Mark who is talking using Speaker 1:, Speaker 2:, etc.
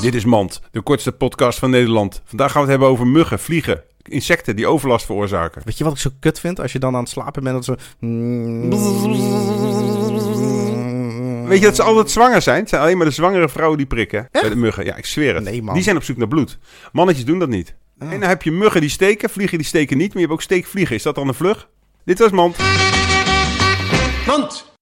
Speaker 1: Dit is Mand, de kortste podcast van Nederland. Vandaag gaan we het hebben over muggen, vliegen, insecten die overlast veroorzaken.
Speaker 2: Weet je wat ik zo kut vind? Als je dan aan het slapen bent, dat zo...
Speaker 1: Weet je dat ze altijd zwanger zijn? Het zijn alleen maar de zwangere vrouwen die prikken. Bij de muggen, ja, ik zweer het.
Speaker 2: Nee, man. Ah.
Speaker 1: Die zijn op zoek naar bloed. Mannetjes doen dat niet. En dan heb je muggen die steken, vliegen die steken niet, maar je hebt ook steekvliegen. Is dat dan een vlug? Dit was Mand.